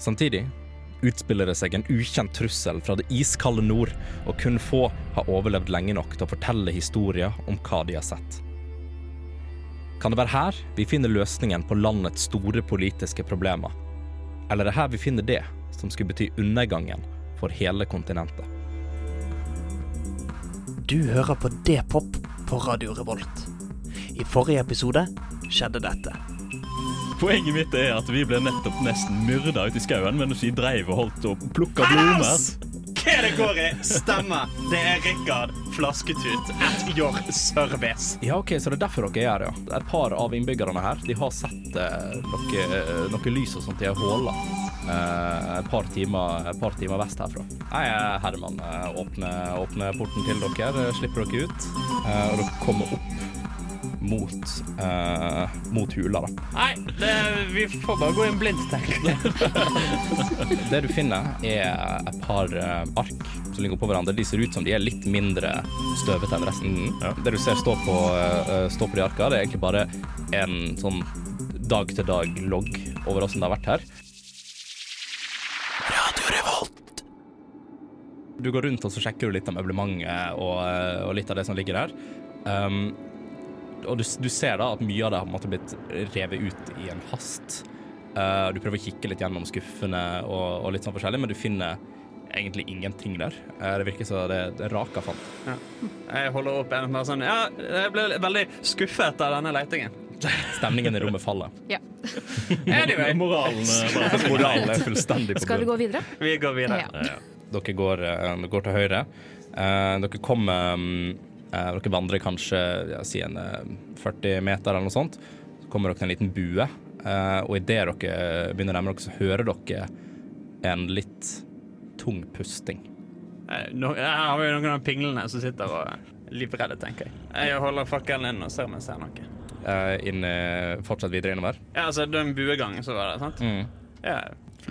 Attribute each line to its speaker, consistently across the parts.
Speaker 1: Samtidig utspiller det seg en ukjent trussel fra det iskalde nord, og kun få har overlevd lenge nok til å fortelle historier om hva de har sett. Kan det være her vi finner løsningen på landets store politiske problemer? Eller er det her vi finner det som skulle bety undergangen for hele kontinentet?
Speaker 2: Du hører på D-pop på Radio Revolt. I forrige episode skjedde dette.
Speaker 3: Poenget mitt er at vi ble nettopp nesten myrda ute i skauen mens vi dreiv og holdt og plukka blomster.
Speaker 4: Hva det går i? Stemmer. Det er Rikard Flasketut at your service.
Speaker 1: Ja, ok, så det er derfor dere er her, ja. Et par av innbyggerne her de har sett eh, noe, noe lys og sånt i ei håle. Eh, et, par timer, et par timer vest herfra. Jeg er Herman. eh, Åpner, åpner porten til dere, eh, slipper dere ut. Eh, og dere kommer opp mot, eh, mot hula, da.
Speaker 5: Nei, det, vi får bare gå inn blindt, tenker jeg.
Speaker 1: Det du finner, er et par eh, ark som ligger oppå hverandre. De ser ut som de er litt mindre støvete enn resten.
Speaker 3: Ja.
Speaker 1: Det du ser stå på, eh, stå på de arka, det er egentlig bare en sånn dag-til-dag-logg over åssen det har vært her. Du går rundt og så sjekker du litt av møblementet og, eh, og litt av det som ligger der. Um, og du, du ser da at mye av det har på en måte blitt revet ut i en hast. Eh, du prøver å kikke litt gjennom skuffene og, og litt sånn forskjellig, men du finner egentlig ingenting der. Eh, det virker som det, det raka fant.
Speaker 5: Jeg holder opp en og bare sånn Ja, jeg ble veldig skuffet av denne letingen.
Speaker 1: Stemningen i rommet faller.
Speaker 6: Ja.
Speaker 5: Anyway,
Speaker 3: Moralen eh, bare for
Speaker 1: Moralen er fullstendig på
Speaker 6: Skal vi
Speaker 1: bunn.
Speaker 6: gå videre?
Speaker 5: vi går videre.
Speaker 6: Ja.
Speaker 1: Dere går, eh, går til høyre. Eh, dere kommer mm, eh, Dere vandrer kanskje ja, si en eh, 40 meter eller noe sånt. Så kommer dere til en liten bue, eh, og idet dere begynner å nærme dere, så hører dere en litt tung pusting.
Speaker 5: Eh, No, her har vi jo noen av pinglene som sitter og er livredde, tenker jeg. Jeg holder fakkelen inn og ser om jeg ser noe.
Speaker 1: Eh, inn, eh, fortsatt videre innover.
Speaker 5: Ja, altså, det er en buegang, så var det, sant?
Speaker 1: Mm.
Speaker 5: Ja.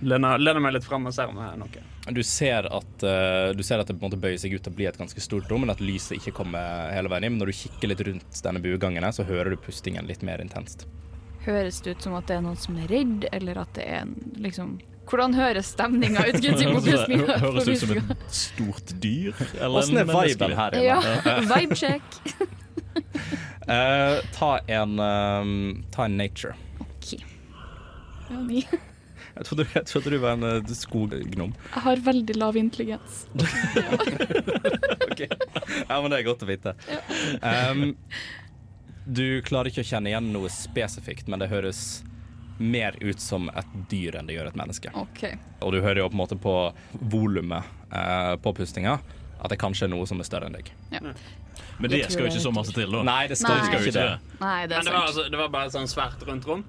Speaker 5: Lener, lener meg litt frem og ser om jeg har noe.
Speaker 1: Du ser at, eh, du ser at det på en måte bøyer seg ut og blir et ganske stort rom, men at lyset ikke kommer hele veien inn. Men når du kikker litt rundt denne buegangen, her, så hører du pustingen litt mer intenst.
Speaker 6: Høres det ut som at det er noen som er redd, eller at det er en liksom Hvordan høres stemninga ut? Gutti, på
Speaker 3: Høres
Speaker 6: pustninga?
Speaker 3: det- høres ut som et stort dyr. eller
Speaker 1: Åssen
Speaker 3: en
Speaker 1: er viben
Speaker 3: menneskelig?
Speaker 1: her inne?
Speaker 6: Ja. Vibecheck.
Speaker 1: Eh, ta, en, eh, ta en nature.
Speaker 6: OK. Ja, ni.
Speaker 1: Jeg trodde, jeg trodde du var en eh, skoggnom.
Speaker 6: Jeg har veldig lav intelligens.
Speaker 1: Ja, men det er godt å vite. Em, du klarer ikke å kjenne igjen noe spesifikt, men det høres mer ut som et dyr enn det gjør et menneske.
Speaker 6: OK.
Speaker 1: Og du hører jo på en måte på volumet eh, på pustinga at det kanskje er noe som er større enn deg.
Speaker 3: Men
Speaker 6: Jeg
Speaker 3: det
Speaker 6: tror
Speaker 3: skal jo ikke
Speaker 6: det er
Speaker 3: så masse til, da.
Speaker 1: Nei, det skal,
Speaker 6: Nei.
Speaker 1: skal jo ikke det.
Speaker 6: Nei,
Speaker 5: Men det
Speaker 6: det er
Speaker 5: var,
Speaker 6: sant.
Speaker 5: altså, det var bare et sånn svært rundt rom.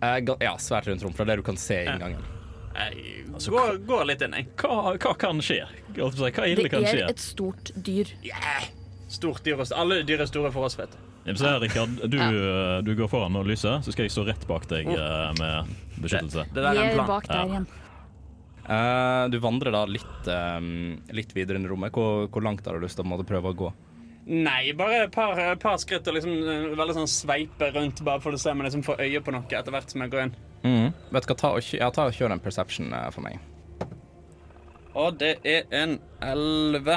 Speaker 1: Eh, ga- ja, svært rundt rom fra det du kan se i inngangen.
Speaker 5: Jeg går, går litt inn, jeg.
Speaker 3: Hva, hva kan skje? Jeg holdt på å si, Hva ille
Speaker 6: Det
Speaker 3: kan
Speaker 6: er
Speaker 3: skje?
Speaker 6: et stort dyr.
Speaker 5: Stort dyr og st- Alle dyr er store for oss, vet du.
Speaker 3: Ja, men Så her, Rikard, du, eh, du går foran og lyser, så skal jeg stå rett bak deg eh, med beskyttelse.
Speaker 5: Det der er
Speaker 6: Vi er
Speaker 5: en plan.
Speaker 6: bak der igjen.
Speaker 1: Eh, du vandrer da litt, eh, litt videre inn i rommet. Hvor, hvor langt har du lyst til å på en måte, prøve å gå?
Speaker 5: Nei, bare et par, et par skritt og liksom eh, veldig sånn sveipe rundt, bare for å se om jeg liksom får øye på noe etter hvert som jeg går inn.
Speaker 1: Mm. Vet du hva, ta og, kjø- ja, ta og kjør en perception eh, for meg.
Speaker 5: Og det er en elleve.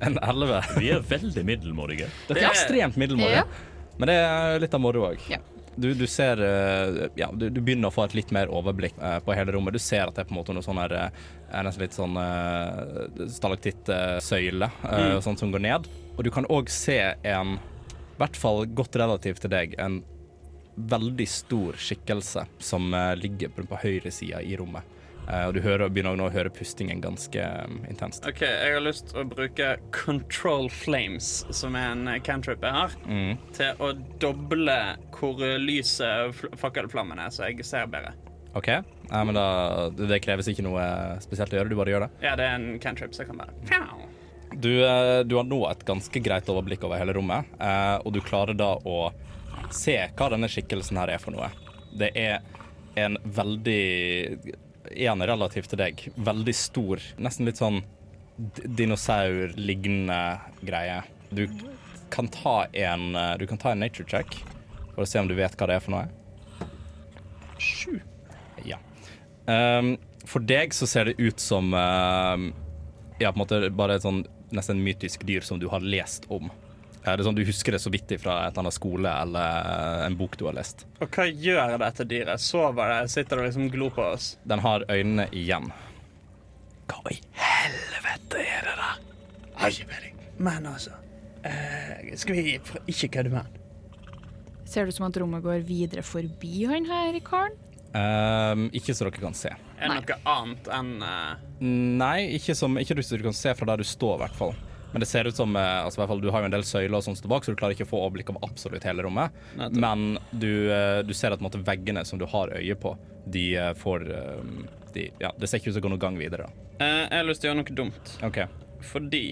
Speaker 1: En 11.
Speaker 3: Vi er veldig middelmådige.
Speaker 1: Dere er ekstremt middelmådige.
Speaker 6: Ja.
Speaker 1: Men det er litt av moro òg.
Speaker 6: Ja.
Speaker 1: Du, du ser eh, Ja, du, du begynner å få et litt mer overblikk eh, på hele rommet. Du ser at det er på en måte noe sånn her eh, er Nesten litt sånn uh, stalaktitt-søyle sånn som går ned. Og du kan òg se en, i hvert fall godt relativ til deg, en veldig stor skikkelse som eh, ligger på, på høyre side i rommet. Eh, og du hører, begynner nå å høre pustingen ganske eh, intenst.
Speaker 5: OK, jeg har lyst til å bruke Control Flames, som er en eh, cantrip jeg har, til å doble hvor lyset fl- fakkelflammen er, så jeg ser bedre.
Speaker 1: OK, Nei, men da, det kreves ikke noe spesielt å gjøre, du bare gjør det.
Speaker 5: Ja, det er en cantrip, så jeg kan bare Pow!
Speaker 1: Du, eh, du har nå et ganske greit overblikk over hele rommet, eh, og du klarer da å se hva denne skikkelsen her er for noe. Det er en veldig Igjen relativt til deg. Veldig stor, nesten litt sånn d- dinosaur-lignende greie. Du kan ta en eh, Du kan ta en nature check for å se om du vet hva det er for noe. Sju. Ja. Ehm, for deg så ser det ut som ehm, ja, på en måte bare et sånn nesten mytisk dyr som du har lest om. Er det sånn Du husker det så vidt fra et eller annet skole eller eh, en bok du har lest.
Speaker 5: Og hva gjør dette dyret? Sover det? Sitter det liksom og glor på oss?
Speaker 1: Den har øynene igjen. Hva i
Speaker 5: Har ikke peiling. Men altså eh, Skal vi pr- ikke kødde med han?
Speaker 6: Ser det ut som at rommet går videre forbi han her karen?
Speaker 1: Ehm, ikke så dere kan se.
Speaker 5: Er det noe annet enn eh,
Speaker 1: Nei, ikke, som, ikke du kan se fra der du står, i hvert fall. Men det ser ut som eh, altså, i hvert fall, Du har jo en del søyler og sånn sånt tilbake, så du klarer ikke å få overblikk over absolutt hele rommet.
Speaker 5: Nettopp.
Speaker 1: Men du, eh, du ser at på en måte, veggene som du har øye på, de eh, får eh, de, ja, Det ser ikke ut som det går noen gang videre. da.
Speaker 5: eh, Jeg har lyst til å gjøre noe dumt,
Speaker 1: OK.
Speaker 5: fordi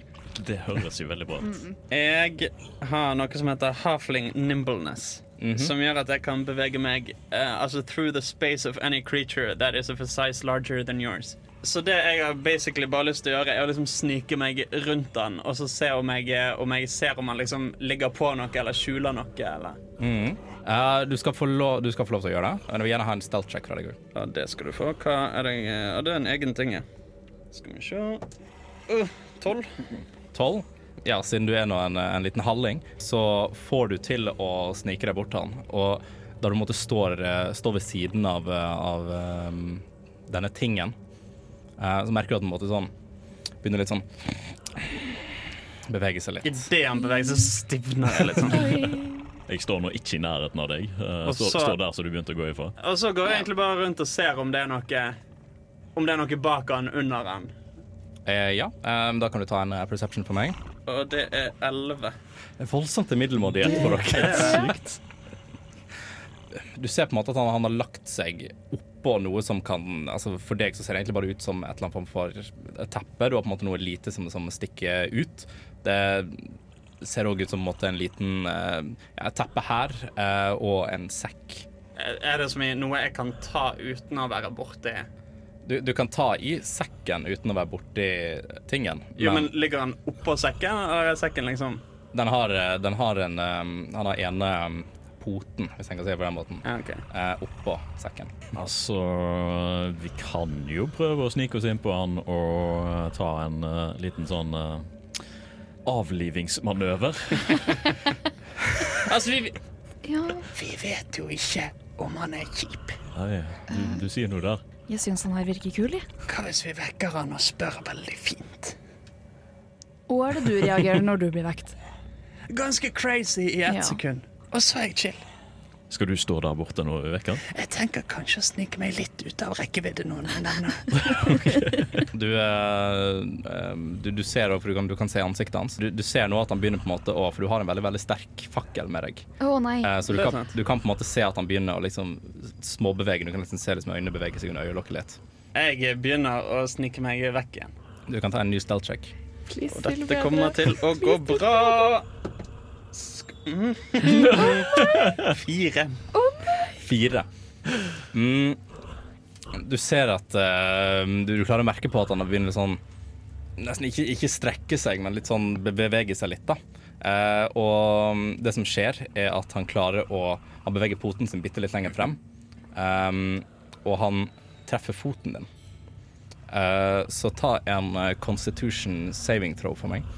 Speaker 3: Det høres jo veldig bra ut.
Speaker 5: jeg har noe som heter halfling nimbleness. Som gjør at jeg kan bevege meg eh, altså through the space of any creature that is of a size larger than yours. Så det jeg har basically bare lyst til å gjøre, er å liksom snike meg rundt han og så se om jeg, eh, om jeg ser om han liksom ligger på noe eller skjuler noe. Eller.
Speaker 1: Mhm. Eh, du, skal få lov, du skal få lov til å gjøre det. Men jeg vil gjerne ha en stealth check fra deg òg.
Speaker 5: Ja, det skal du få. Hva er det jeg Ja, det er en egen ting, ja. Skal vi se uh, 12.
Speaker 1: Tolv? Ja, siden du er nå en, en liten halling, så får du til å snike deg bort til han. Og da du måtte stå, stå eh, ved siden av, eh, av ehm, denne tingen, eh, så merker du at den måtte sånn Begynner litt sånn Bevege seg litt.
Speaker 5: Idet han beveger seg, stivner jeg litt sånn.
Speaker 3: Jeg står nå ikke i nærheten av deg. Eh,
Speaker 5: Og
Speaker 3: Står,
Speaker 5: så-
Speaker 3: står der som du begynte å gå ifra.
Speaker 5: Og så går jeg egentlig bare rundt og ser om det er noe Om det er noe bak han, under han.
Speaker 1: Eh, ja, ehm, da kan du ta en eh, perception for meg.
Speaker 5: Og det er 11.
Speaker 1: Voldsomt til middelmådighet for dere. Sykt. Du ser på en måte at han, han har lagt seg oppå noe som kan altså For deg så ser det egentlig bare ut som et eller annet form for teppe. Du har på en måte noe lite som, som stikker ut. Det ser òg ut som på en, måte, en liten eh, ja, et teppe her eh, og en sekk.
Speaker 5: Er er det som i noe jeg kan ta uten å være borti?
Speaker 1: Du, du kan ta i sekken uten å være borti tingen.
Speaker 5: Jo, men
Speaker 1: men
Speaker 5: ligger han oppå sekken, eller er sekken liksom
Speaker 1: den har, eh, den har en eh, Han har ene eh, poten, hvis en kan si det på den måten,
Speaker 5: Ja, OK.
Speaker 1: eh, oppå sekken.
Speaker 3: Altså, vi kan jo prøve å snike oss inn på han og eh, ta en eh, liten sånn eh, avlivingsmanøver.
Speaker 5: Altså, vi
Speaker 6: Ja,
Speaker 5: Vi vet jo ikke om han er kjip.
Speaker 3: Nei, du, du sier noe der.
Speaker 6: jeg syns han her virker kul, jeg.
Speaker 5: Hva hvis vi vekker han og spør veldig fint?
Speaker 6: Og er det du reagerer når du blir vekt?
Speaker 5: Ganske crazy i ett
Speaker 6: Ja.
Speaker 5: sekund. Og så er jeg chill.
Speaker 3: Skal du stå der borte nå, Vekan?
Speaker 5: Jeg tenker kanskje å snike meg litt ut av rekkevidde nå når jeg nevner det.
Speaker 1: Du, eh, eh, du, du ser også, for du kan, du kan se ansiktet hans. Du, du ser nå at han begynner på en måte å For du har en veldig veldig sterk fakkel med deg.
Speaker 6: Å nei.
Speaker 1: Eh, så du
Speaker 5: Det er
Speaker 1: kan,
Speaker 5: sant.
Speaker 1: du kan på en måte se at han begynner å liksom småbevege. Du kan liksom se liksom øynene bevege seg under øyelokket litt.
Speaker 5: Jeg begynner å snike meg vekk igjen.
Speaker 1: Du kan ta en ny stealth check.
Speaker 6: Please,
Speaker 5: Og
Speaker 6: til
Speaker 5: dette
Speaker 6: bedre.
Speaker 5: kommer til å gå bra. Sk mm. Fire.
Speaker 1: Fire. Mm. Du ser at eh, du, du klarer å merke på at han begynner sånn Nesten ikke, ikke strekke seg, men litt sånn be- bevege seg litt, da. Eh, og det som skjer, er at han klarer å Han beveger poten sin bitte litt lenger frem. Ehm, og han treffer foten din. Eh, så ta en eh, constitution saving throw for meg.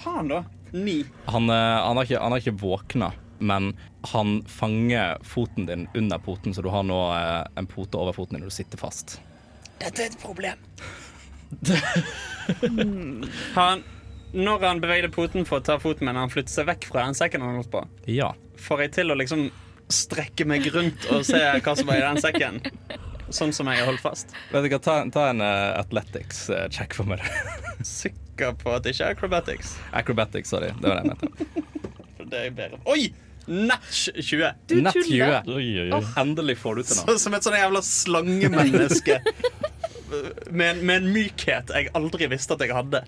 Speaker 5: Faen, da. Ni.
Speaker 1: Han, eh, han, har ikke, han har ikke våkna, men han fanger foten din under poten, så du har nå eh, en pote over foten din, og du sitter fast.
Speaker 5: Dette er et problem. han, når han bevegde poten for å ta foten min, han flyttet seg vekk fra den sekken han holdt på.
Speaker 1: Ja.
Speaker 5: Får jeg til å liksom strekke meg rundt og se hva som var i den sekken? Sånn som jeg har holdt fast.
Speaker 1: Vet du hva, ta, ta en eh, athletics-check for meg.
Speaker 5: Sikker på at det ikke er acrobatics.
Speaker 1: Acrobatics, sorry. Det var det jeg mente.
Speaker 5: For det er bedre. Oi! Natch 20.
Speaker 6: Du
Speaker 1: Nett
Speaker 6: tuller.
Speaker 1: 20.
Speaker 3: Oi, oi, oi.
Speaker 6: Åh.
Speaker 1: Endelig får du til det.
Speaker 5: Så, som et sånn jævla slangemenneske. Med en, med en mykhet jeg aldri visste at jeg hadde.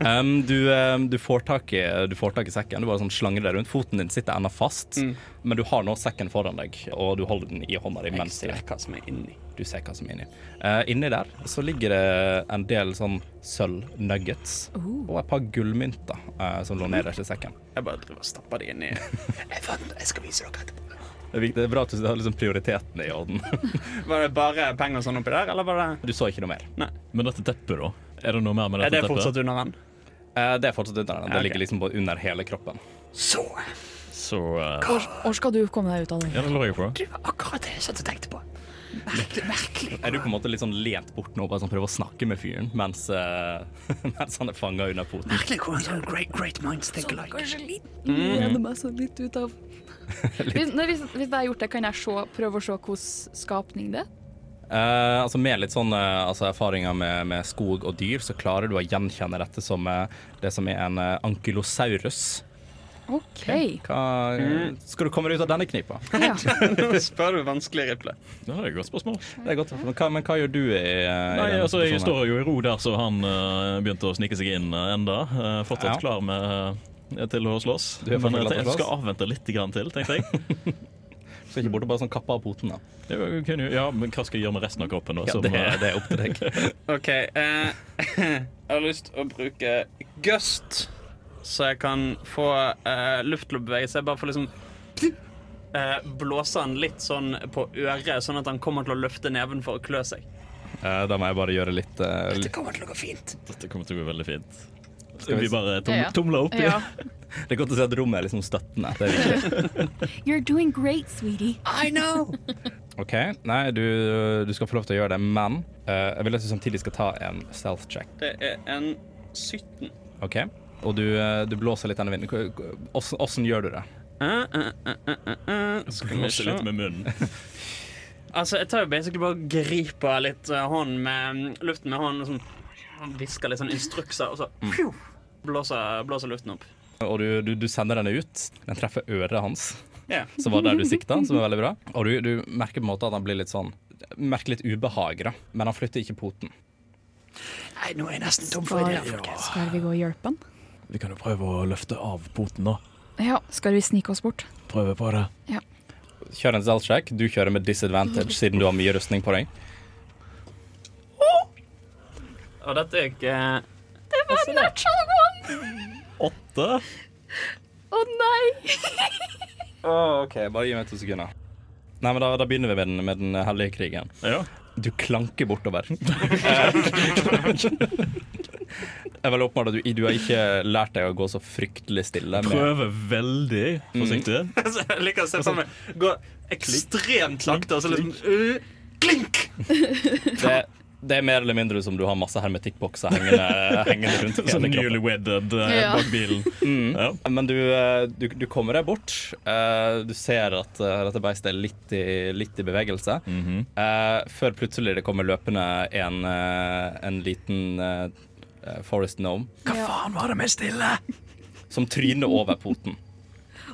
Speaker 1: Um, du, um, du, får tak i, du får tak i sekken. Du bare sånn slanger deg rundt. Foten din sitter ennå fast, men du har nå sekken foran deg, og du holder den i hånda di
Speaker 5: Jeg
Speaker 1: mens du
Speaker 5: ser hva som er inni.
Speaker 1: Du ser hva som er inni. Eh, inni der så ligger det en del sånn sølvnuggets
Speaker 6: Oh.
Speaker 1: og et par gullmynter eh, som lå nederst i sekken.
Speaker 5: Jeg bare driver og stapper det inni. Jeg fant det, jeg skal vise dere etterpå.
Speaker 1: Det er, viktig, det er bra at du har liksom prioritetene i orden.
Speaker 5: Var det bare penger og sånn oppi der, eller var det
Speaker 1: Du så ikke noe mer.
Speaker 5: Nei.
Speaker 3: Men dette teppet, da? Er det noe mer med
Speaker 5: Er
Speaker 3: dette
Speaker 5: det
Speaker 3: teppet?
Speaker 5: fortsatt under den?
Speaker 1: Eh, det er fortsatt under den. Det
Speaker 5: Ja, ok.
Speaker 1: ligger liksom på- under hele kroppen.
Speaker 2: Så
Speaker 3: Så eh,
Speaker 6: Hvor skal du komme deg ut av det?
Speaker 3: Ja, det lurer jeg på.
Speaker 2: Det var akkurat det jeg satt og tenkte på. Merkelig, merkelig.
Speaker 1: Er du på en måte litt sånn lent bort nå, bare sånn prøver å snakke med fyren mens, eh, mens han er fanga under foten?
Speaker 2: Merkelig hvordan sånn great, great minds think
Speaker 5: Sånn
Speaker 2: alike.
Speaker 6: Kanskje litt Leder
Speaker 3: Mm.
Speaker 6: meg sånn litt ut av hvis, nei, hvis, hvis jeg har gjort det, kan jeg se, prøve å se hvilken skapning det er?
Speaker 1: Eh, altså Med litt sånn eh, altså erfaringer med, med skog og dyr, så klarer du å gjenkjenne dette som eh, det som er en eh, ankylosaurus.
Speaker 6: OK.
Speaker 1: Hva, skal du komme deg ut av denne knipa?
Speaker 6: Ja.
Speaker 5: Nå spør du vanskelig, Riple.
Speaker 3: Ja, det er et godt spørsmål.
Speaker 1: Det er godt. Men hva, men hva gjør du i, eh, i
Speaker 3: Nei,
Speaker 1: denne
Speaker 3: altså, Jeg
Speaker 1: situasjonen?
Speaker 3: står jo i ro der, så han eh, begynte å snike seg inn eh, enda. Eh, fortsatt
Speaker 1: Ja.
Speaker 3: klar med, eh, til å slåss.
Speaker 1: Du er fortsatt
Speaker 3: Men jeg,
Speaker 1: klar til å
Speaker 3: jeg skal
Speaker 1: slåss?
Speaker 3: avvente litt grann til, tenkte jeg.
Speaker 1: Så ikke bort og bare sånn kappe av poten, da.
Speaker 3: Det var jo- kunne jo- Ja, Men hva skal jeg gjøre med resten av kroppen? da?
Speaker 1: Ja,
Speaker 3: som,
Speaker 1: det,
Speaker 3: eh,
Speaker 1: det er opp til deg.
Speaker 5: OK. Eh, jeg har lyst til å bruke gust, så jeg kan få eh, luft til å bevege seg. Bare for liksom eh, Blåse han litt sånn på øret, sånn at han kommer til å løfte neven for å klø seg.
Speaker 1: Eh, da må jeg bare gjøre litt, eh,
Speaker 2: Det
Speaker 1: litt
Speaker 2: kommer til å gå fint.
Speaker 3: Dette kommer til å gå veldig fint.
Speaker 1: Skal vi
Speaker 3: Vi
Speaker 1: s-
Speaker 3: bare tom,
Speaker 6: Ja, ja.
Speaker 3: tumler opp.
Speaker 6: ja.
Speaker 1: Det er godt å se at rommet er liksom støttende. Det er viktig.
Speaker 6: You're doing great, sweetie.
Speaker 2: I know.
Speaker 1: OK. Nei, du, du skal få lov til å gjøre det, men eh, jeg vil at du samtidig skal ta en stealth check.
Speaker 5: Det er en 17.
Speaker 1: OK? Og du, eh, du blåser litt denne vinden. Hvor- hvor- Åssen åssen gjør du det?
Speaker 5: Eh, eh, eh, eh, eh, eh. Skal vi
Speaker 3: Blåse
Speaker 5: se.
Speaker 3: litt med munnen.
Speaker 5: Altså, jeg tar jo basically bare og griper litt eh, hånden med mm, luften med hånden og sånn Hvisker litt sånn instrukser, og så phew, blåser, blåser luften opp.
Speaker 1: Og du, du, du sender denne ut. Den treffer øret hans,
Speaker 5: Ja.
Speaker 1: som var der du sikta, som er veldig bra. Og du, du merker på en måte at han blir litt sånn Merker litt ubehag, da. Men han flytter ikke poten.
Speaker 2: Nei, nå er jeg nesten tom for
Speaker 6: Skal,
Speaker 2: ideer, folkens.
Speaker 6: skal vi gå og hjelpe han?
Speaker 7: Vi kan jo prøve å løfte av poten, da.
Speaker 6: Ja, skal vi snike oss bort?
Speaker 7: Prøve på det.
Speaker 1: Kjør en stealth check. Du kjører med disadvantage siden du har mye rustning på deg.
Speaker 5: Og dette er ikke eh,
Speaker 6: Natural one!
Speaker 3: Åtte.
Speaker 6: Å nei!
Speaker 1: OK, bare gi meg to sekunder. Nei, men Da, da begynner vi med den, med den hellige krigen.
Speaker 3: Ja.
Speaker 1: Du klanker bortover. Jeg vil åpenbart at du, du har ikke lært deg å gå så fryktelig stille. Med.
Speaker 3: Prøver veldig forsiktig.
Speaker 1: Mm.
Speaker 5: Altså, Jeg liker å se for meg gå ekstremt sakte og så liksom uh, Klink!
Speaker 1: Det, det er mer eller mindre som du har masse hermetikkbokser hengende, hengende rundt
Speaker 3: Sånn
Speaker 1: hele kroppen.
Speaker 3: newly wedded eh,
Speaker 6: Ja.
Speaker 3: bak bilen. Ja.
Speaker 1: Men du, eh, du, du kommer deg bort. Eh, Du ser at eh, dette beistet er litt i, litt i bevegelse. Eh, Før plutselig det kommer løpende en, eh, en liten eh, eh, forest gnome
Speaker 7: Hva faen var det med stille?
Speaker 1: som tryner over poten.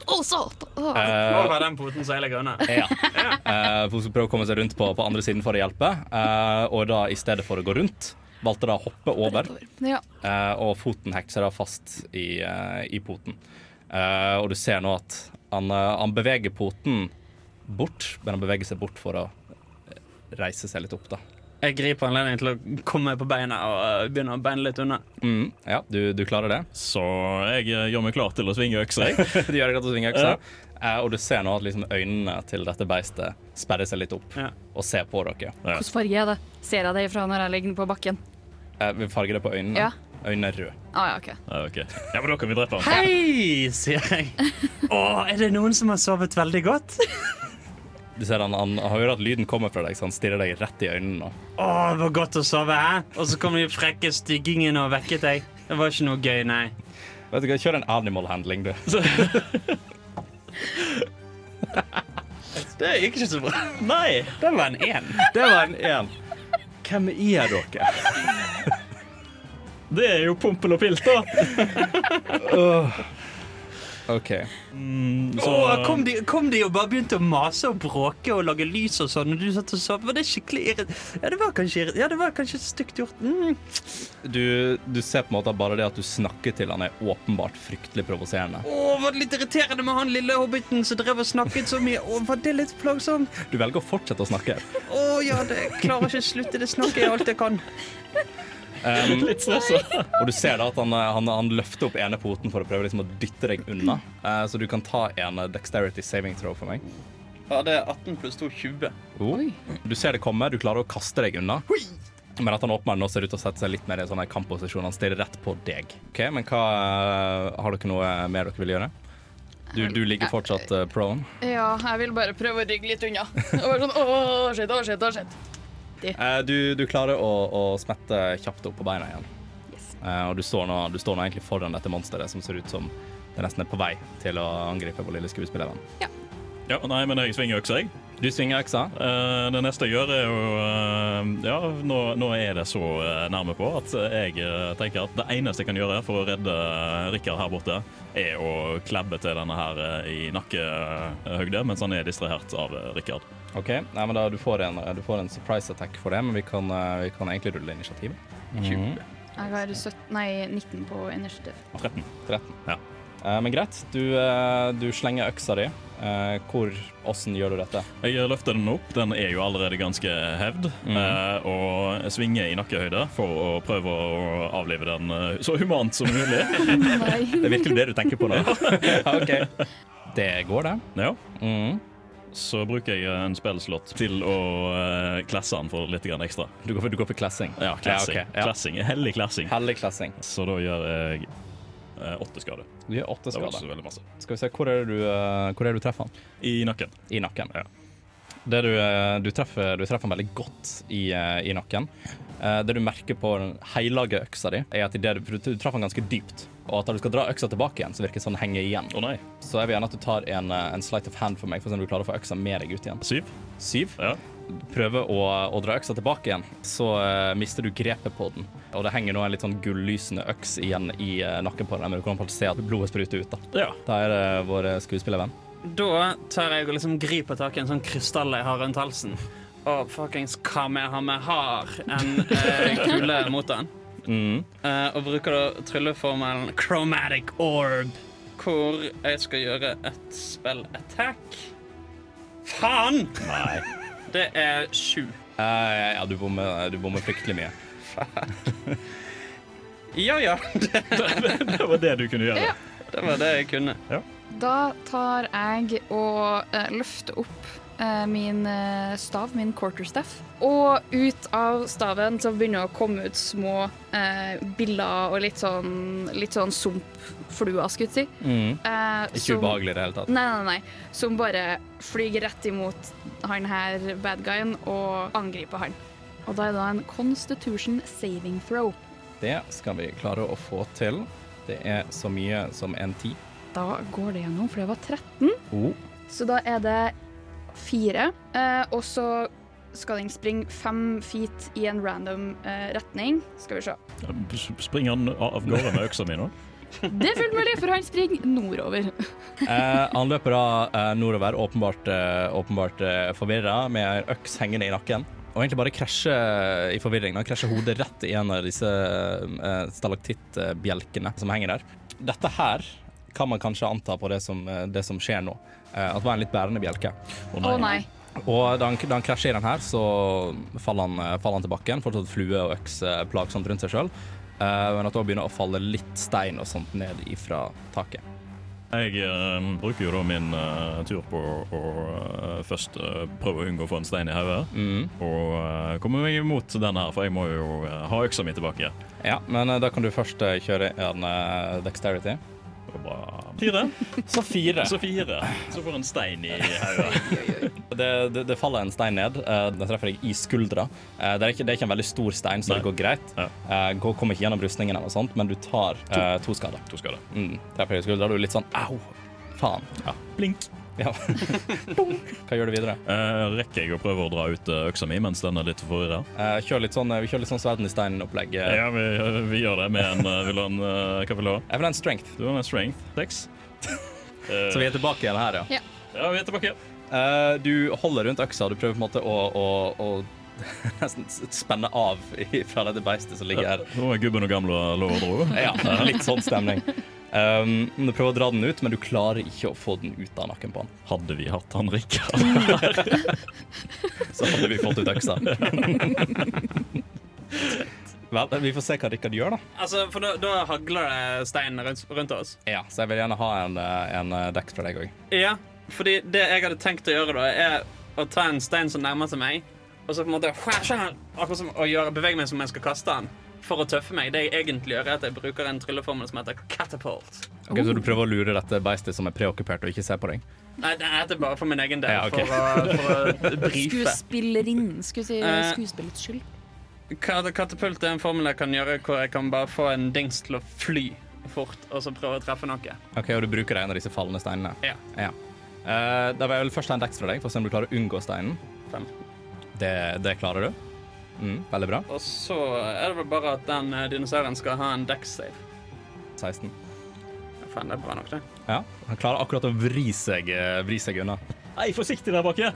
Speaker 6: Å, satan! Å,
Speaker 1: Eh,
Speaker 5: Over den poten så jeg ligger unna.
Speaker 1: Ja. Eh, hun skulle prøve å komme seg rundt på, på andre siden for å hjelpe, eh, og da i stedet for å gå rundt, valgte da å hoppe over,
Speaker 6: Ja.
Speaker 1: eh, og foten hekte seg da fast i, eh, i poten. Eh, og du ser nå at han, eh, han beveger poten bort, men han beveger seg bort for å eh, reise seg litt opp, da.
Speaker 5: Jeg griper anledningen til å komme meg på beina og uh, begynne å beine litt unna.
Speaker 1: Mm, ja, du, du klarer det.
Speaker 3: Så jeg eh, gjør meg klar til å svinge øksa. jeg.
Speaker 1: du gjør deg klar til å svinge øksa, eh, og du ser nå at liksom øynene til dette beistet sperrer seg litt opp
Speaker 5: Ja.
Speaker 1: og ser på dere.
Speaker 6: Hvilken farge er det? Ser jeg det ifra når jeg ligger på bakken?
Speaker 1: Eh, vi farger det på øynene.
Speaker 6: Ja.
Speaker 1: Øynene er røde.
Speaker 6: Ah, ja, OK.
Speaker 3: Ja, ok. ja, men da kan vi drepe han.
Speaker 5: Hei, sier jeg. Å, er det noen som har sovet veldig godt?
Speaker 1: Du ser han, han hører at lyden kommer fra deg, så han stirrer deg rett i øynene. nå.
Speaker 5: Å, det var godt å sove, hæ? Og så kom de frekke styggingene og vekket deg. Det var ikke noe gøy, nei.
Speaker 1: Vet du hva, Kjør en animal handling, du.
Speaker 5: Det gikk ikke så bra.
Speaker 1: Nei!
Speaker 5: Det var en én.
Speaker 1: Det var en én. Hvem er dere?
Speaker 3: Det er jo Pompel og Pilt, da.
Speaker 1: OK.
Speaker 3: Mm, så
Speaker 4: Åh, kom, de, kom de og bare begynte å mase og bråke og lage lys og sånn, og du satt og sov. Var det skikkelig irrit... Ja, det var kanskje, irrit- ja, det var kanskje stygt gjort. Mm.
Speaker 1: Du, du ser på en måte at bare det at du snakker til han, er åpenbart fryktelig provoserende.
Speaker 4: Åh, var det litt irriterende med han lille hobbiten som drev og snakket så mye? Åh, var det litt plagsomt?
Speaker 1: Du velger å fortsette å snakke.
Speaker 4: Åh, ja, det jeg klarer ikke å slutte. Det snakker jeg alt jeg kan.
Speaker 1: Um,
Speaker 3: Litt stressa.
Speaker 1: Og du ser da at han, eh, han, han løfter opp ene poten for å prøve liksom å dytte deg unna. Eh, så du kan ta en eh, dexterity saving throw for meg. Oh.
Speaker 5: Ja, det er 18 pluss 2, 20.
Speaker 1: Du ser det komme, du klarer å kaste deg unna. Men at han åpner den og ser ut til å sette seg litt mer i en sånn her kampposisjon. Han stirrer rett på deg. Ok, Men hva eh, Har dere noe mer dere vil gjøre? Du, du ligger fortsatt eh, prone.
Speaker 6: Ja, jeg vil bare prøve å rygge litt unna. Og bare sånn, åh, shit, åh, shit, åh, shit.
Speaker 1: Eh, du, du klarer å, å smette kjapt opp på beina igjen.
Speaker 6: Yes.
Speaker 1: Eh, og du står, nå, du står nå egentlig foran dette monsteret som ser ut som det nesten er på vei til å angripe vår lille skuespillervenn.
Speaker 3: Ja, nei, men jeg svinger øksa, jeg.
Speaker 1: Du svinger øksa.
Speaker 3: Eh, det neste jeg gjør, er jo eh, Ja, nå, nå er det så eh, nærme på at jeg eh, tenker at det eneste jeg kan gjøre for å redde eh, Rikard her borte, er å klabbe til denne her eh, i nakkehøgde mens han er distrahert av eh, Rikard.
Speaker 1: OK, Nei, men da, du, får en, du får en surprise attack for det, men vi kan, eh, vi kan egentlig rulle initiativet.
Speaker 6: Jeg har 17, nei, 19 på initiativ.
Speaker 3: 13.
Speaker 1: 13.
Speaker 3: Ja.
Speaker 1: Eh, men greit, du, eh, du slenger øksa di. Eh, hvor, Åssen gjør du dette?
Speaker 3: Jeg løfter den opp. Den er jo allerede ganske hevd.
Speaker 1: Mhm.
Speaker 3: eh, og svinger i nakkehøyde for å prøve å avlive den eh, så humant som mulig.
Speaker 6: Nei.
Speaker 1: Det er virkelig det du tenker på nå. OK. Det går, det.
Speaker 3: ja.
Speaker 1: Mm.
Speaker 3: Så bruker jeg en spillslott til å eh, klasse den for litt grann ekstra.
Speaker 1: Du, går for, du går for classing?
Speaker 3: Ja, klassing.
Speaker 1: Ja, ok, ja.
Speaker 3: klassing. Hellig klassing.
Speaker 1: Hellig classing.
Speaker 3: Så da gjør jeg eh, åtte skader.
Speaker 1: Du gjør åtte
Speaker 3: Det var ikke
Speaker 1: skader.
Speaker 3: så veldig masse.
Speaker 1: Skal vi se, hvor er det du, eh, hvor er det du treffer han?
Speaker 3: I nakken.
Speaker 1: I nakken. Det du, eh, du, treffer, du treffer han veldig godt i, eh, i nakken. Eh, Det du merker på den heilage øksa di, er at i det du, for du traff han ganske dypt. Og at når du skal dra øksa tilbake igjen, så virker det som den henger igjen.
Speaker 3: Å nei.
Speaker 1: Så jeg vil gjerne at du tar en, eh, en slight of hand for meg, for å se om du klarer å få øksa med deg ut igjen.
Speaker 3: Syv.
Speaker 1: Syv.
Speaker 3: Ja.
Speaker 1: Prøver å, å dra øksa tilbake igjen, så eh, mister du grepet på den. Og det henger nå en litt sånn gullysende øks igjen i eh, nakken på deg, men du kan på en måte se at blodet spruter ut. Da
Speaker 3: ja.
Speaker 1: Da er det vår eh, skuespillervenn.
Speaker 5: Da tar jeg og liksom griper tak i en sånn krystall jeg har rundt halsen. Og fuckings Kamehame har en eh, kule mot den.
Speaker 1: Mm.
Speaker 5: Eh, og bruker da trylleformelen Chromatic Orb, hvor jeg skal gjøre et spill attack. Faen!
Speaker 3: Nei.
Speaker 5: Det er sju.
Speaker 1: Eh, ja, du bommer, du bommer fryktelig mye.
Speaker 5: Ja ja,
Speaker 3: Det var det du kunne gjøre.
Speaker 6: Ja.
Speaker 5: det var det jeg kunne.
Speaker 6: Da tar jeg og eh, løfter opp eh, min eh, stav, min quarterstaff. Og ut av staven så begynner det å komme ut små eh, biller og litt sånn, litt sånn sumpfluer, skulle jeg si.
Speaker 1: Mm.
Speaker 6: Eh,
Speaker 1: Ikke
Speaker 6: som-
Speaker 1: ubehagelig i det hele tatt.
Speaker 6: Nei, nei, nei. Som bare flyger rett imot han her bad guyen og angriper han. Og da er det da en constitution saving throw.
Speaker 1: Det skal vi klare å få til. Det er så mye som en ti.
Speaker 6: Da går det gjennom, for det var 13.
Speaker 1: Oh.
Speaker 6: Så da er det fire. Eh, og så skal den springe fem feet i en random eh, retning. Skal vi se.
Speaker 3: S- Springer han av gårde med øksa mi nå?
Speaker 6: Det er fullt mulig, for han springer nordover.
Speaker 1: Eh, han løper da eh, nordover, åpenbart, eh, åpenbart eh, forvirra, med en øks hengende i nakken. Og egentlig bare krasjer i forvirringen. Han krasjer hodet rett i en av disse eh, stalaktittbjelkene som henger der. Dette her kan man kanskje anta på det som, eh, det som skjer nå. Eh, at det var en litt bærende bjelke.
Speaker 3: Å
Speaker 6: Å nei.
Speaker 1: Og da han, da han krasjer i den her, så faller han, eh, faller han tilbake igjen. Fortsatt flue og øks eh, plagsomt rundt seg sjøl. men at det også begynner å falle litt stein og sånt ned ifra taket.
Speaker 3: Jeg eh, bruker jo da min eh, tur på å eh, først eh, prøve å unngå å få en stein i hodet.
Speaker 1: Mm.
Speaker 3: Og eh, komme meg imot den her, for jeg må jo eh, ha øksa mi tilbake.
Speaker 1: Ja, men eh, da kan du først eh, kjøre en eh, dexterity.
Speaker 3: Det var bra. Fire.
Speaker 1: Så fire.
Speaker 3: Så fire. Så får en stein i hodet.
Speaker 1: Det, det, det faller en stein ned. eh, den treffer deg i skuldra. Eh, det, er ikke, det er ikke en veldig stor stein, så det
Speaker 3: Nei.
Speaker 1: går greit.
Speaker 3: Ja.
Speaker 1: Eh, går, kommer ikke gjennom rustningen, eller noe sånt, men du tar eh, to skader.
Speaker 3: To skader.
Speaker 1: Mm, treffer deg i skuldra, du er litt sånn au, faen. Ja.
Speaker 3: Blink.
Speaker 1: Ja. Hva gjør du videre?
Speaker 3: Eh, rekker jeg å prøve å dra ut eh, øksa mi mens den er litt forvirra?
Speaker 1: Eh, kjør litt sånn, vi kjører litt sånn Sverden i steinen-opplegg. Eh,
Speaker 3: Ja, vi, vi gjør det med en eh, Vil du ha en eh, Hva vil du ha?
Speaker 1: Jeg vil ha en strength.
Speaker 3: Du har en strength. Seks. Eh,
Speaker 1: Så vi er tilbake igjen her, ja.
Speaker 3: Ja, vi er tilbake.
Speaker 1: Eh, du holder rundt øksa, og du prøver på en måte å, å, å nesten s- spenne av i- fra dette beistet som ligger her.
Speaker 3: Nå er gubben og gamle lå og dro.
Speaker 1: Ja, litt sånn stemning. Um, du prøver å dra den ut, men du klarer ikke å få den ut av nakken på han.
Speaker 3: Hadde vi hatt han Rikard
Speaker 1: Så hadde vi fått ut øksa. Vel, vi får se hva Rikard gjør, da.
Speaker 5: Altså, for da, da hagler det stein rundt, rundt oss.
Speaker 1: Ja, Så jeg vil gjerne ha en, eh, en eh, dex fra deg òg.
Speaker 5: Ja, fordi det jeg hadde tenkt å gjøre da, er å ta en stein som nærmer seg meg, og så på en måte skjær, skjær, akkurat som å gjøre, bevege meg som om jeg skal kaste den, for å tøffe meg. Det jeg egentlig gjør, er at jeg bruker en trylleformel som heter catapult.
Speaker 1: så du prøver å lure dette beistet som er preokkupert og ikke ser på deg?
Speaker 5: Nei, det er det bare for min egen del,
Speaker 1: Ja, ok.
Speaker 5: for, å, for å brife.
Speaker 6: Skuespillerinnen. Skulle si
Speaker 5: Eh.
Speaker 6: skuespillets skyld.
Speaker 5: Kat- Katapult er en formel jeg kan gjøre hvor jeg kan bare få en dings til å fly fort, og så prøve å treffe noe.
Speaker 1: Ok, Og du bruker en av disse fallende steinene?
Speaker 5: Ja.
Speaker 1: Eh, da vil jeg vel først ha en dex fra deg, for å se om du klarer å unngå steinen.
Speaker 5: Fem.
Speaker 1: Det, det klarer du. Mm, veldig bra.
Speaker 5: Og så er det vel bare at den eh, dinosauren skal ha en dex-save.
Speaker 1: 16.
Speaker 5: Ja, Faen, det er bra nok, det.
Speaker 1: Ja, Han klarer akkurat å vri seg, eh, vri seg unna.
Speaker 3: Hei, forsiktig der bak, ja.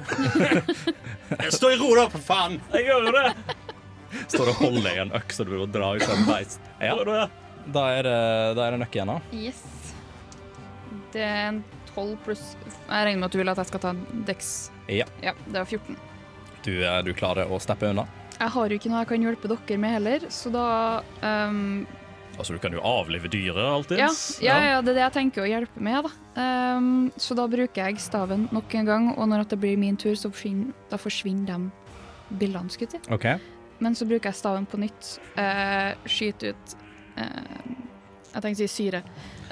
Speaker 5: Stå i ro, da, for faen!
Speaker 3: Jeg gjør jo det.
Speaker 1: Står og holder i en øks og du vil dra ut en beist. Ja,
Speaker 3: Gjør du det?
Speaker 1: da er det, da er det nøkk igjen, da.
Speaker 6: Yes. Det er en 12 pluss Jeg regner med at du vil at jeg skal ta en dex.
Speaker 1: Ja.
Speaker 6: Ja, det var 14.
Speaker 1: Du, eh, du klarer å steppe unna.
Speaker 6: Jeg har jo ikke noe jeg kan hjelpe dere med heller, så da ehm,
Speaker 3: Altså, du kan jo avlive dyret alltid.
Speaker 6: ja, ja, ja, det er det jeg tenker å hjelpe med, da. Ehm, så da bruker jeg staven nok en gang, og når at det blir min tur, så forsvinner, da forsvinner de bildene, skulle jeg si.
Speaker 1: Ok.
Speaker 6: Men så bruker jeg staven på nytt. eh, skyter ut eh, Jeg tenkte å si syre.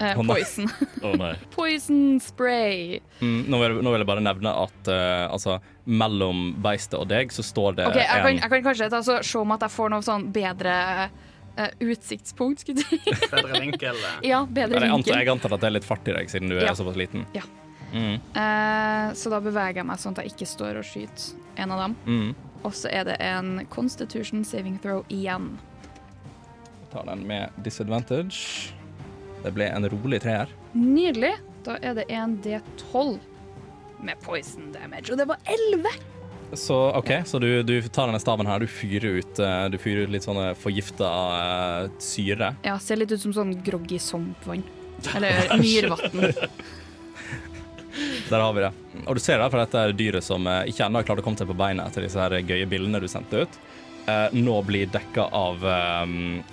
Speaker 6: Eh,
Speaker 1: Å, nei.
Speaker 6: poison.
Speaker 3: Å nei.
Speaker 6: poison spray.
Speaker 1: Mm, nå, vil, nå vil jeg bare nevne at eh, altså, mellom beistet og deg så står det
Speaker 6: OK, jeg kan,
Speaker 1: en
Speaker 6: jeg kan kanskje ta, så, se om at jeg får noe sånn bedre eh, utsiktspunkt, skulle jeg si.
Speaker 5: Bedre vinkel. eh.
Speaker 6: ja, bedre
Speaker 1: Eller, jeg, antar,
Speaker 6: vinkel.
Speaker 1: jeg antar at det er litt fart i deg, siden du
Speaker 6: Ja.
Speaker 1: er såpass liten.
Speaker 6: Ja.
Speaker 1: Mm,
Speaker 6: Eh, så da beveger jeg meg sånn at jeg ikke står og skyter en av dem.
Speaker 1: mm.
Speaker 6: Og så er det en constitution saving throw igjen.
Speaker 1: Tar den med disadvantage. Det ble en rolig treer.
Speaker 6: Nydelig. Da er det en D12 med poison damage, og det var 11!
Speaker 1: Så OK, så du, du tar denne staven her, du fyrer ut, eh, du fyrer ut litt sånne forgifta eh, syre.
Speaker 6: Ja, ser litt ut som sånn groggy sumpvann. Eller myrvann.
Speaker 1: Der har vi det. Og du ser det, for dette er dyret som eh, ikke ennå har klart å komme seg på beina etter disse her gøye bildene du sendte ut. Eh, Nå blir dekka av, eh,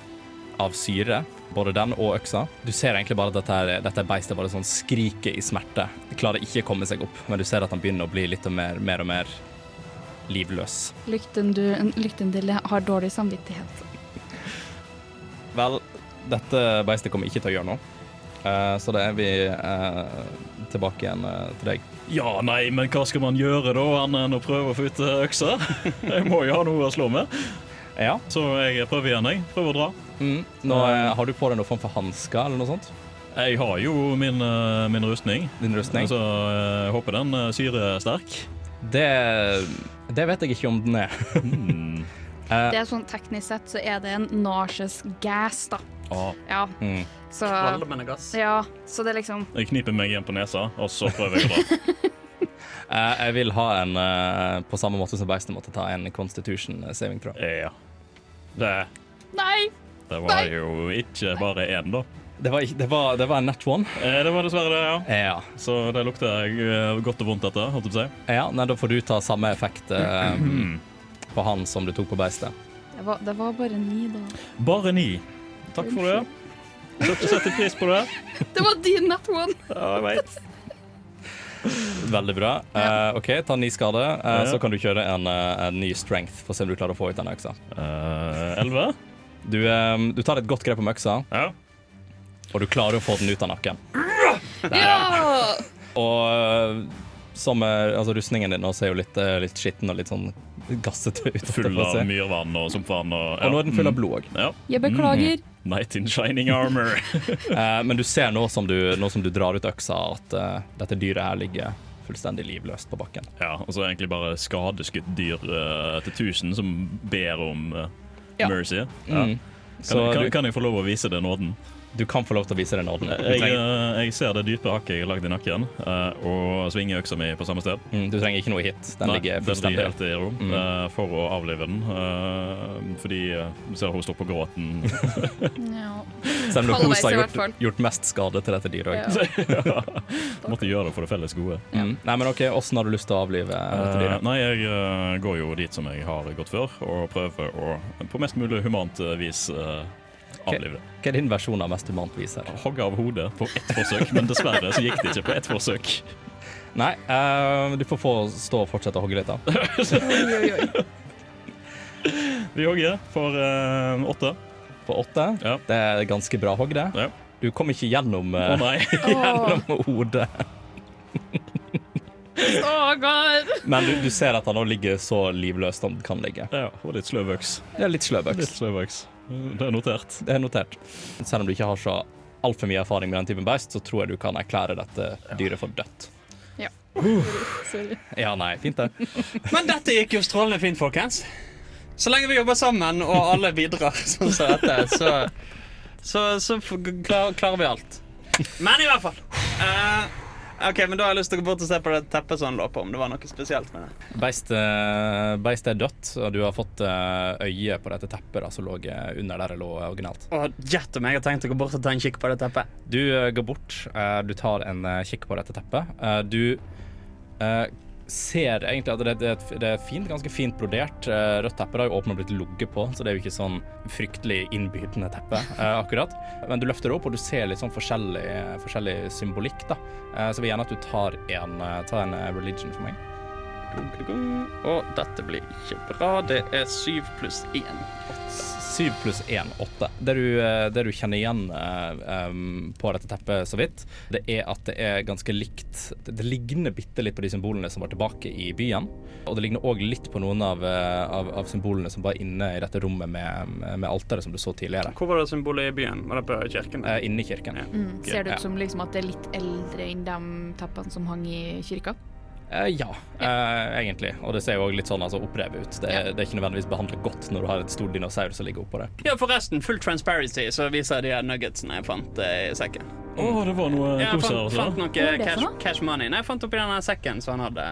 Speaker 1: av syre, både den og øksa. Du ser egentlig bare at dette, her, dette beistet bare sånn skriker i smerte. Det klarer ikke å komme seg opp, men du ser at han begynner å bli litt og mer, mer og mer livløs.
Speaker 6: Lyktendil har dårlig samvittighet.
Speaker 1: Vel, dette beistet kommer ikke til å gjøre noe, Eh, så da er vi eh, tilbake igjen eh, til deg.
Speaker 3: Ja, nei, men hva skal man gjøre da, annet enn å prøve å få ut eh, øksa? Jeg må jo ha noe å slå med.
Speaker 1: Ja.
Speaker 3: Så jeg prøver igjen, jeg. Prøver å dra.
Speaker 1: Mm. Nå, eh, har du på deg noen form for hansker eller noe sånt?
Speaker 3: Jeg har jo min, eh, min rustning.
Speaker 1: Din rustning?
Speaker 3: Så jeg håper den eh, syresterk.
Speaker 1: Det, det vet jeg ikke om den er.
Speaker 3: Mm.
Speaker 1: Eh.
Speaker 6: Det er sånn Teknisk sett så er det en nauseous gas, da.
Speaker 3: Ah.
Speaker 6: Ja,
Speaker 1: Mm.
Speaker 6: så
Speaker 5: Kvalmende gass.
Speaker 6: Ja, så det er liksom
Speaker 3: Jeg kniper meg igjen på nesa, og så prøver jeg å dra.
Speaker 1: Eh, jeg vil ha en eh, på samme måte som beistet måtte ta en Constitution eh, saving throw.
Speaker 3: Ja. Det,
Speaker 6: Nei!
Speaker 3: det var jo ikke bare én, da.
Speaker 1: Det var, ikke- det var, det var en net one.
Speaker 3: Eh, Det var dessverre det, ja.
Speaker 1: Ja.
Speaker 3: Så det lukter jeg eh, godt og vondt etter, holdt jeg på å si.
Speaker 1: ja nei, da får du ta samme effekt eh, på han som du tok på beistet.
Speaker 6: Det var, det var bare ni, da.
Speaker 3: Bare ni. Takk for det. Dere setter pris på det.
Speaker 6: Det var din nat one!
Speaker 3: Ja, jeg vet.
Speaker 1: Veldig bra. Eh, OK, ta ni skade, eh,
Speaker 3: Ja.
Speaker 1: så kan du kjøre en, eh, en ny strength for å se om du klarer å få ut den øksa.
Speaker 3: Eh, Elleve?
Speaker 1: Du, eh, du tar et godt grep om øksa,
Speaker 3: Ja.
Speaker 1: og du klarer å få den ut av nakken.
Speaker 6: Ja!
Speaker 1: Og eh, som, eh, altså, rustningen din nå ser jo litt, eh, litt skitten og litt sånn gassete ut.
Speaker 3: Full
Speaker 1: holdt jeg på å
Speaker 3: av Mm.
Speaker 1: si.
Speaker 3: myrvann og sumpvann og
Speaker 1: Og nå er den full av blod òg.
Speaker 3: Ja.
Speaker 6: Jeg beklager.
Speaker 3: Night in shining armor.
Speaker 1: Eh, men du ser nå som du, nå som du drar ut øksa, at eh, dette dyret her ligger fullstendig livløst på bakken.
Speaker 3: Ja, og så er det egentlig bare skadeskutt dyr eh, til tusen som ber om eh,
Speaker 1: Ja.
Speaker 3: mercy. Ja.
Speaker 1: Mm.
Speaker 3: Kan,
Speaker 1: Så
Speaker 3: kan,
Speaker 1: du,
Speaker 3: kan jeg få lov å vise det nåden?
Speaker 1: Du kan få lov til å vise den orden. Du
Speaker 3: Jeg,
Speaker 1: trenger,
Speaker 3: eh, jeg ser det dype hakket jeg har lagd i nakken, eh, og svinger øksa mi på samme sted.
Speaker 1: mm, du trenger ikke noe hit. Den
Speaker 3: eh, Nei,
Speaker 1: ligger
Speaker 3: den blir
Speaker 1: fullstendig
Speaker 3: helt i ro
Speaker 1: Mm.
Speaker 3: eh, for å avlive den. eh, fordi eh, du ser hun står på gråten.
Speaker 1: Mm.
Speaker 6: Ja.
Speaker 1: Selv om
Speaker 6: Halvveis
Speaker 1: Kos har
Speaker 6: i hvert fall.
Speaker 1: gjort, gjort mest skade til dette dyret. også.
Speaker 6: Ja.
Speaker 3: Måtte gjøre det for det felles gode.
Speaker 1: Mm. Nei, men ok, Åssen har du lyst til å avlive dette
Speaker 3: Eh,
Speaker 1: dyret?
Speaker 3: nei, jeg eh, går jo dit som jeg har gått før, og prøver å på mest mulig humant eh, vis eh, avlive det.
Speaker 1: Hva er din versjon av mest humant vis her?
Speaker 3: Hogge av hodet på ett forsøk, men dessverre så gikk det ikke på ett forsøk.
Speaker 1: Nei, eh, du får få stå og fortsette å hogge litt, da.
Speaker 6: Oi, oi, oi.
Speaker 3: Vi hogger for eh, åtte.
Speaker 1: På åtte.
Speaker 3: Ja.
Speaker 1: Det er ganske bra hogg, det.
Speaker 3: Ja.
Speaker 1: Du kom ikke gjennom,
Speaker 3: Å
Speaker 1: eh,
Speaker 3: nei.
Speaker 6: Åh,
Speaker 1: gjennom hodet.
Speaker 6: Stakkar!
Speaker 1: Men du, du ser at han nå ligger så livløst som han kan ligge.
Speaker 3: Ja, og litt sløv øks.
Speaker 1: Det er litt sløv
Speaker 3: Litt
Speaker 1: øks.
Speaker 3: sløv øks. Det er notert.
Speaker 1: Det er notert. Selv om du ikke har så altfor mye erfaring med den typen beist, så tror jeg du kan erklære dette dyret for dødt.
Speaker 6: Sorry.
Speaker 1: Ja, nei, fint det.
Speaker 5: Men dette gikk jo strålende fint, folkens. Så lenge vi jobber sammen og alle bidrar sånn som dette, så, så, så f- klar, klarer vi alt. Men i hvert fall. eh, ok, men Da har jeg lyst til å gå bort og se på det teppet som han lå på, om det var noe spesielt med det.
Speaker 1: Beist, eh, beist er dødt, og du har fått eh, øye på dette teppet da, som lå eh, under der det lå originalt.
Speaker 5: Og Gjett om jeg har tenkt å gå bort og ta en kikk på det teppet.
Speaker 1: Du eh, går bort, eh, du tar en eh, kikk på dette teppet. Eh, du eh, ser egentlig at det, det, er et- det er fint, ganske fint brodert. Eh, rødt teppe det har jo åpnet og blitt ligget på, så det er jo ikke sånn fryktelig innbydende teppe eh, akkurat. Men du løfter det opp, og du ser litt sånn forskjellig, forskjellig symbolikk, da. Eh, så vil jeg gjerne at du tar en, eh, tar en eh, religion for meg.
Speaker 5: Og dette blir ikke bra. Det er syv pluss én.
Speaker 1: Syv pluss én, åtte. Det du, eh, det du kjenner igjen eh, em, på dette teppet så vidt, det er at det er ganske likt Det det ligner bitte litt på de symbolene som var tilbake i byen. Og det ligner òg litt på noen av, eh, av, av symbolene som var inne i dette rommet med, med alteret som du så tidligere.
Speaker 5: Hvor var det symbolet i byen? Var det på kirken?
Speaker 1: Eh, Inne i kirken.
Speaker 5: Ja.
Speaker 6: Mm. Ser det
Speaker 1: Ja.
Speaker 6: ut som liksom at det er litt eldre enn de teppene som hang i kirka?
Speaker 1: Eh, ja, eh, egentlig. Og det ser jo òg litt sånn altså, opprevet ut. Det, er- det er ikke nødvendigvis behandlet godt når du har et stor dinosaur som ligger oppå det.
Speaker 5: Ja, forresten, full transparency, så viser de her nuggetsene jeg fant eh, i sekken.
Speaker 3: Å, det var noe
Speaker 5: Ja, jeg
Speaker 3: kos her
Speaker 5: fant,
Speaker 3: også.
Speaker 5: fant noe
Speaker 6: er det for
Speaker 5: cash,
Speaker 6: noe?
Speaker 5: cash money. Nei, jeg fant oppi denne sekken som han hadde.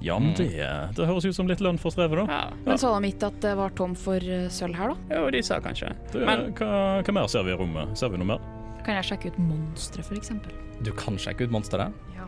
Speaker 3: Ja, men det, Mm. det høres ut som litt lønn for strevet, da.
Speaker 5: Ja.
Speaker 6: Men sa de ikke at det var tom for eh, sølv her, da?
Speaker 5: Jo, de sa kanskje.
Speaker 3: Det,
Speaker 5: Men
Speaker 3: hva, hva mer ser vi i rommet? Ser vi noe mer?
Speaker 6: Kan jeg sjekke ut monsteret, f.eks.?
Speaker 1: Du kan sjekke ut monsteret.
Speaker 6: Ja.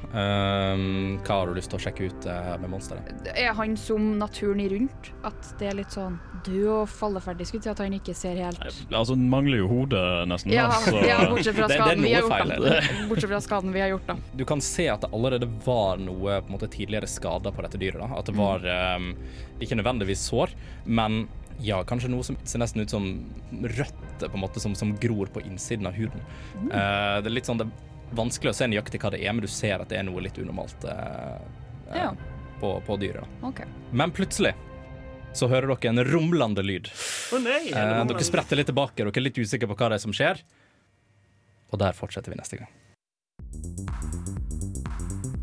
Speaker 1: Um, hva har du lyst til å sjekke ut eh, med monsteret?
Speaker 6: Er han som naturen i rundt? At det er litt sånn død og falleferdig, skulle jeg si, at han ikke ser helt
Speaker 3: Altså, den mangler jo hodet nesten.
Speaker 6: ja,
Speaker 3: da, så-
Speaker 6: ja, bortsett fra
Speaker 1: altså, Det- det er
Speaker 6: skaden vi
Speaker 1: noe
Speaker 6: har gjort,
Speaker 1: feil
Speaker 6: da. Bortsett fra skaden vi har gjort, da.
Speaker 1: Du kan se at det allerede var noe på en måte, tidligere skader på dette dyret. Da. At det
Speaker 5: Mm.
Speaker 1: var ehm, ikke nødvendigvis sår, men ja, kanskje noe som ser nesten ut som røtter på en måte, som, som gror på innsiden av huden.
Speaker 5: Mm.
Speaker 1: Eh, det er litt sånn, det er vanskelig å se nøyaktig hva det er, men du ser at det er noe litt unormalt eh, eh,
Speaker 6: Ja.
Speaker 1: på, på dyret. Da.
Speaker 6: OK.
Speaker 1: Men plutselig så hører dere en rumlende lyd.
Speaker 5: Å nei!
Speaker 1: Eh, dere spretter litt tilbake, dere er litt usikre på hva det er som skjer. Og der fortsetter vi neste gang.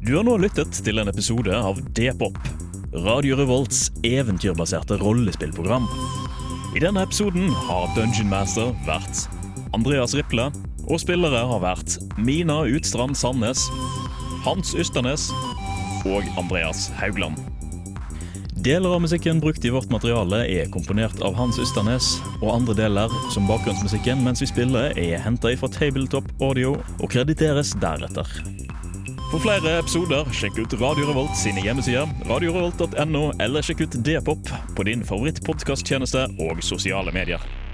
Speaker 3: Du har nå lyttet til en episode av D-pop, Radio Revolts eventyrbaserte rollespillprogram. I denne episoden har Dungeon Master vært Andreas Riple, og spillere har vært Mina Utstrand Sandnes, Hans Ysternes og Andreas Haugland. Deler av musikken brukt i vårt materiale er komponert av Hans Ysternes, og andre deler, som bakgrunnsmusikken mens vi spiller, er henta fra Tabletop Audio og krediteres deretter. For flere episoder, sjekk ut Radio Revolt sine hjemmesider, radiorevolt.no, eller sjekk ut D-pop på din favorittpodkasttjeneste og sosiale medier.